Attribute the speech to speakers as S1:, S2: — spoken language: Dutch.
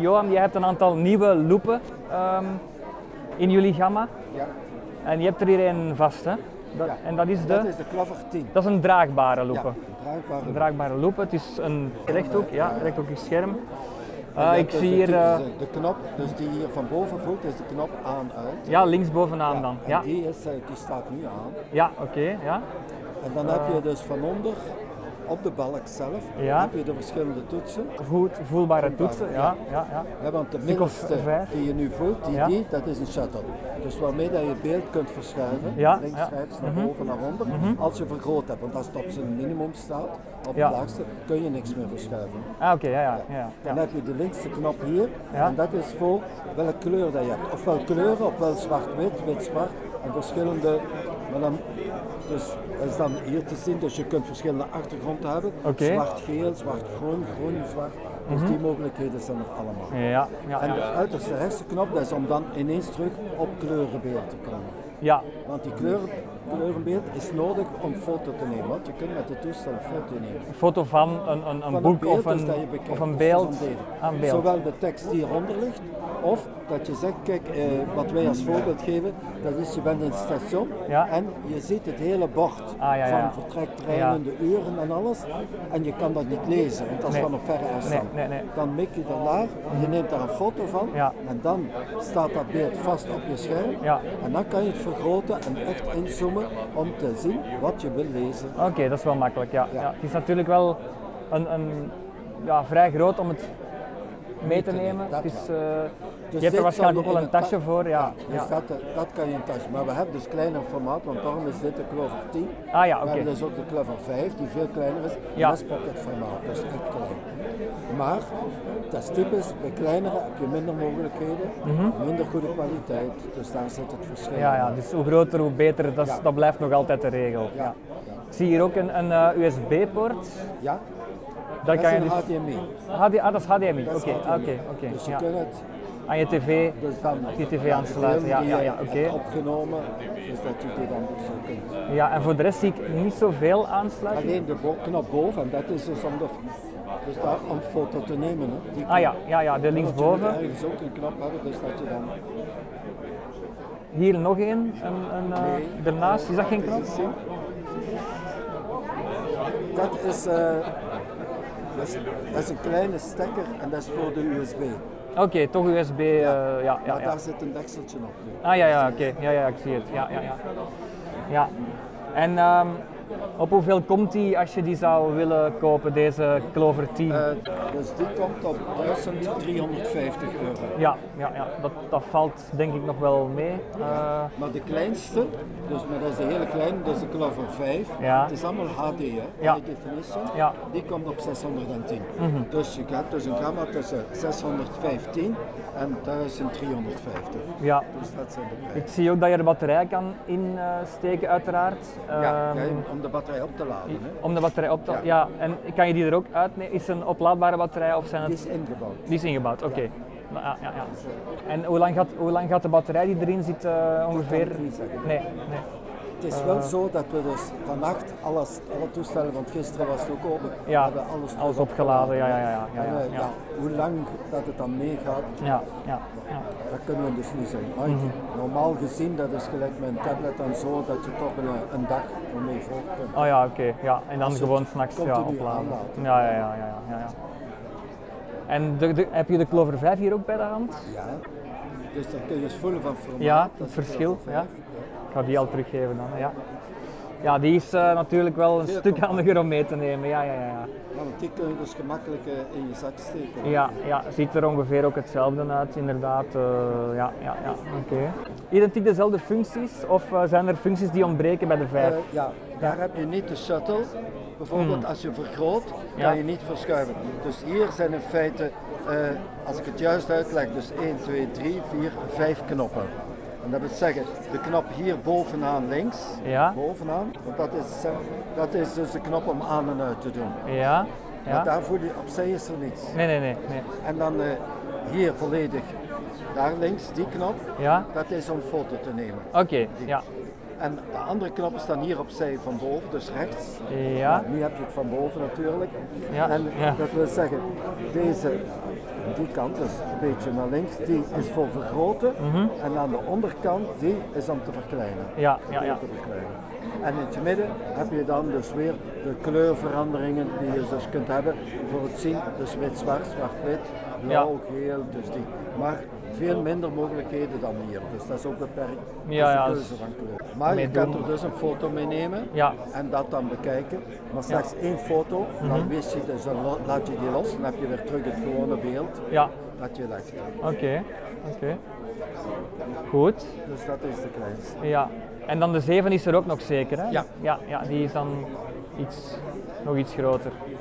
S1: Johan, je hebt een aantal nieuwe loepen ehm, in jullie gamma.
S2: Ja,
S1: En je hebt er hier een vast, hè? Dat,
S2: Ja.
S1: En dat is de...
S2: dat is de Klaver 10.
S1: dat is een draagbare loepen.
S2: Ja, bruikbare
S1: Een draagbare loep. Het is een rechthoek, ja, rechthoekig scherm. Eh,
S2: En je
S1: ik
S2: hebt
S1: zie
S2: dus
S1: hier...
S2: de-
S1: eh,
S2: de, de knop, dus die hier van boven voelt, is de knop aan-uit.
S1: eh, ja, linksbovenaan dan.
S2: en
S1: Ja,
S2: Die, is, eh, die staat nu aan.
S1: ja oké. ja.
S2: En dan heb je dus van onder, op de balk zelf,
S1: Ah. Ja.
S2: heb je de verschillende toetsen.
S1: Goed, voelbare toetsen. Ja, ja, ja.
S2: Hè, want de
S1: Stuk of
S2: middelste
S1: vijf.
S2: die je nu voelt, die,
S1: Ja.
S2: die, dat is een shuttle. Dus waarmee dat je het beeld kunt verschuiven,
S1: Ja, Mhm.
S2: links,
S1: ja.
S2: rechts, naar boven, naar onder, als je vergroot hebt. Want als het op zijn minimum staat, op
S1: Ja.
S2: het laagste, kun je niks meer verschuiven.
S1: Ah, oké, ja, ja, ja,
S2: Dan
S1: ja.
S2: heb je de linkse knop hier
S1: Ja.
S2: en dat is voor welke kleur dat je hebt. Ofwel kleuren, ofwel zwart-wit, wit-zwart en verschillende. Maar dan, dus dat is dan hier te zien, dus je kunt verschillende achtergronden hebben.
S1: Oké. Mhm.
S2: Zwart-geel, zwart-groen, groen-zwart. Dus die mogelijkheden zijn er allemaal.
S1: Ja, ja,
S2: En de
S1: ja.
S2: uiterste rechtse knop dat is om dan ineens terug op kleurenbeeld te komen.
S1: ja.
S2: Want die kleuren, kleurenbeeld is nodig om foto te nemen, want je kunt met de toestel een foto nemen
S1: Een foto van een, een, een
S2: van
S1: boek
S2: een beeld
S1: of
S2: dus
S1: een,
S2: dat je bekijkt,
S1: of een
S2: dat
S1: beeld.
S2: is een
S1: Aan beeld.
S2: Zowel de tekst die eronder ligt, of dat je zegt, kijk, eh, wat wij als voorbeeld geven, dat is je bent in het station
S1: Ja. Ah,
S2: en je ziet het hele bord
S1: ja, ja.
S2: van vertrektreinen,
S1: Ja.
S2: de uren en alles. En je kan dat niet lezen, want dat is
S1: Nee.
S2: van een verre afstand.
S1: Nee, nee, nee.
S2: Dan mik je daarnaar, je neemt daar een foto van
S1: Ja.
S2: en dan staat dat beeld vast op je scherm.
S1: Ja.
S2: En dan kan je het vergroten en echt inzoomen om te zien wat je wil lezen.
S1: Oké, dat is wel makkelijk, ja. ja.
S2: Ja.
S1: het is natuurlijk wel een, een, ja, vrij groot om het mee te
S2: te nemen,
S1: nemen.
S2: dat
S1: Het is,
S2: wel.
S1: eh,
S2: Dus
S1: je hebt
S2: dit
S1: er waarschijnlijk
S2: zou
S1: ook wel een
S2: in
S1: tasje voor, ja.
S2: dus
S1: ja.
S2: Dat, dat kan je in een tasje. Maar we hebben dus kleiner formaat, want daarom is dit de Clover 10.
S1: Ah ja,
S2: We
S1: oké.
S2: hebben dus ook de Clover 5, die veel kleiner is.
S1: Ja.
S2: Ja. Dat is pocketformaat, dus echt klein. Maar, dat is typisch, bij kleinere heb je minder mogelijkheden, minder goede kwaliteit. Dus daar zit het verschil
S1: Mhm. Ja, ja,
S2: in.
S1: dus hoe groter, hoe beter. Dat, is-
S2: Ja.
S1: dat blijft nog altijd de regel. Ja.
S2: ja.
S1: Ik zie hier ook een, eh, een USB-poort.
S2: ja.
S1: Daar
S2: Dat
S1: kan je
S2: is
S1: dus...
S2: een HDMI.
S1: HD ah, dat is HDMI.
S2: Dat is
S1: Oké,
S2: HDMI.
S1: oké, oké.
S2: Dus je
S1: ja.
S2: kunt het
S1: Aan je tv.
S2: dus dan
S1: Die tv
S2: ja, de
S1: aansluiten,
S2: film
S1: ja,
S2: die
S1: ja,
S2: je
S1: ja, oké.
S2: hebt opgenomen, dus dat je die dan zo kunt
S1: Ja, en voor de rest zie ik niet zoveel aansluiten.
S2: Alleen de bo- knop boven, en dat is dus om, de, dus daar, om foto te nemen. Hè. Die
S1: Ah ja, ja, ja de
S2: knop. Je moet
S1: linksboven.
S2: ergens ook een knop hebben, dus dat je dan...
S1: Hier nog één. Een, een, eh,
S2: Nee.
S1: Daarnaast, is dat geen knop?
S2: Eens zien. Dat is, eh, dat, is, dat is een kleine stekker en dat is voor de USB.
S1: Oké, toch USB. eh, ja, ja, ja,
S2: maar daar zit een dekseltje op. nu.
S1: Ah ja, ja, oké. Ja, ja, ik zie het. Ja, ja, ja. ja. En ehm, op hoeveel komt die als je die zou willen kopen, deze Clover 10?
S2: Eh, dus die komt op 1350 euro.
S1: ja, ja, ja. Dat, dat valt denk ik nog wel mee. Eh,
S2: Maar de kleinste, dus, maar dat is de hele kleine, dat is de Clover 5.
S1: Ja.
S2: Het is allemaal HD, hè?
S1: Ja.
S2: High definition.
S1: Ja.
S2: Die komt op 610.
S1: Mhm.
S2: Dus je hebt dus een gamma tussen 615 en 1350.
S1: ja.
S2: Dus dat zijn de prijzen.
S1: Ik zie ook dat je de batterij kan insteken, uiteraard.
S2: Ja,
S1: Ehm,
S2: ja, om de batterij op te laden. Hè?
S1: Om de batterij op te... Ja.
S2: Ja.
S1: en kan je die er ook uitnemen? Is het een oplaadbare batterij of zijn het...
S2: Die is ingebouwd.
S1: Die is ingebouwd, oké. Ja. Ja, ja, En hoe lang, gaat, hoe lang gaat de batterij die erin zit eh, ongeveer?
S2: ik niet zeggen.
S1: Nee, nee.
S2: Het
S1: eh,
S2: is wel zo dat we dus vannacht alles, alle toestellen, want gisteren was het ook open,
S1: Ja,
S2: hebben alles, terug
S1: alles opgeladen, ja, ja, ja, ja,
S2: En,
S1: ja,
S2: eh,
S1: ja.
S2: hoe lang dat het dan meegaat,
S1: Ja, ja, ja.
S2: Dat kunnen we dus niet zeggen. Maar ik-
S1: Mhm.
S2: Normaal gezien, dat is gelijk met een tablet en zo, dat je toch een, een dag ermee voort kunt.
S1: Oh ja, oké. Ja. En dan
S2: Als het
S1: gewoon s'nachts ja,
S2: continu
S1: opladen.
S2: aanlaat.
S1: Ja, ja, ja, ja, ja, ja. En de, de- heb je de Clover 5 hier ook bij de hand?
S2: Ja. Dus dan kun je eens voelen van formaat.
S1: Ja,
S2: dat
S1: het
S2: is
S1: verschil,
S2: wel
S1: ja.
S2: vervelend.
S1: Ik ga die al teruggeven dan, ja. Ja, die is eh, natuurlijk wel een
S2: Veel
S1: stuk
S2: compacter.
S1: handiger om mee te nemen, ja, ja, ja. ja.
S2: Ja, want die kun je dus gemakkelijk eh, in je zak steken.
S1: Ja, ja, ziet er ongeveer ook hetzelfde uit, inderdaad. Eh, ja, ja, ja. Oké. Identiek dezelfde functies of eh, zijn er functies die ontbreken bij de
S2: Eh,
S1: 5?
S2: ja, daar heb je niet de shuttle. Bijvoorbeeld als je vergroot,
S1: Mm. Ja.
S2: kan je niet verschuiven. Dus hier zijn in feite, eh, als ik het juist uitleg, dus 1, 2, 3, 4, 5 knoppen. En dat wil zeggen, de knop hier bovenaan links,
S1: Ja.
S2: bovenaan, want dat is, eh, dat is dus de knop om aan en uit te doen.
S1: ja.
S2: Maar
S1: ja.
S2: daar voel je, opzij is er niets.
S1: Nee, nee, nee, nee.
S2: En dan eh, hier volledig, daar links, die knop,
S1: Ja?
S2: dat is om foto te nemen.
S1: Oké, ja.
S2: En de andere knappen staan hier opzij van boven, dus rechts.
S1: Ja.
S2: Nou, nu heb je het van boven natuurlijk.
S1: Ja,
S2: En
S1: ja.
S2: dat wil zeggen, deze, die kant is een beetje naar links, die is voor vergroten.
S1: Mhm.
S2: En aan de onderkant, die is om te verkleinen.
S1: Ja, ja, ja.
S2: Om te verkleinen. En in het midden heb je dan dus weer de kleurveranderingen die je dus kunt hebben voor het zien. Dus wit-zwart, zwart-wit, blauw, geel, dus die. Maar veel minder mogelijkheden dan hier. Dus dat is ook beperkt.
S1: Ja,
S2: Dus
S1: ja,
S2: de
S1: dat is
S2: keuze van kleur. Maar je
S1: mee
S2: kunt
S1: doen.
S2: er dus een foto mee nemen
S1: Ja.
S2: en dat dan bekijken. Maar slechts één foto,
S1: Mhm.
S2: dan wist je dus, dan lo- laat je die los en heb je weer terug het gewone beeld
S1: Ja,
S2: dat je legt.
S1: oké. Oké. Goed.
S2: Dus dat is de kleinste.
S1: Ja. En dan de 7 is er ook nog zeker, hè?
S2: Ja.
S1: Ja, ja die is dan iets, nog iets groter.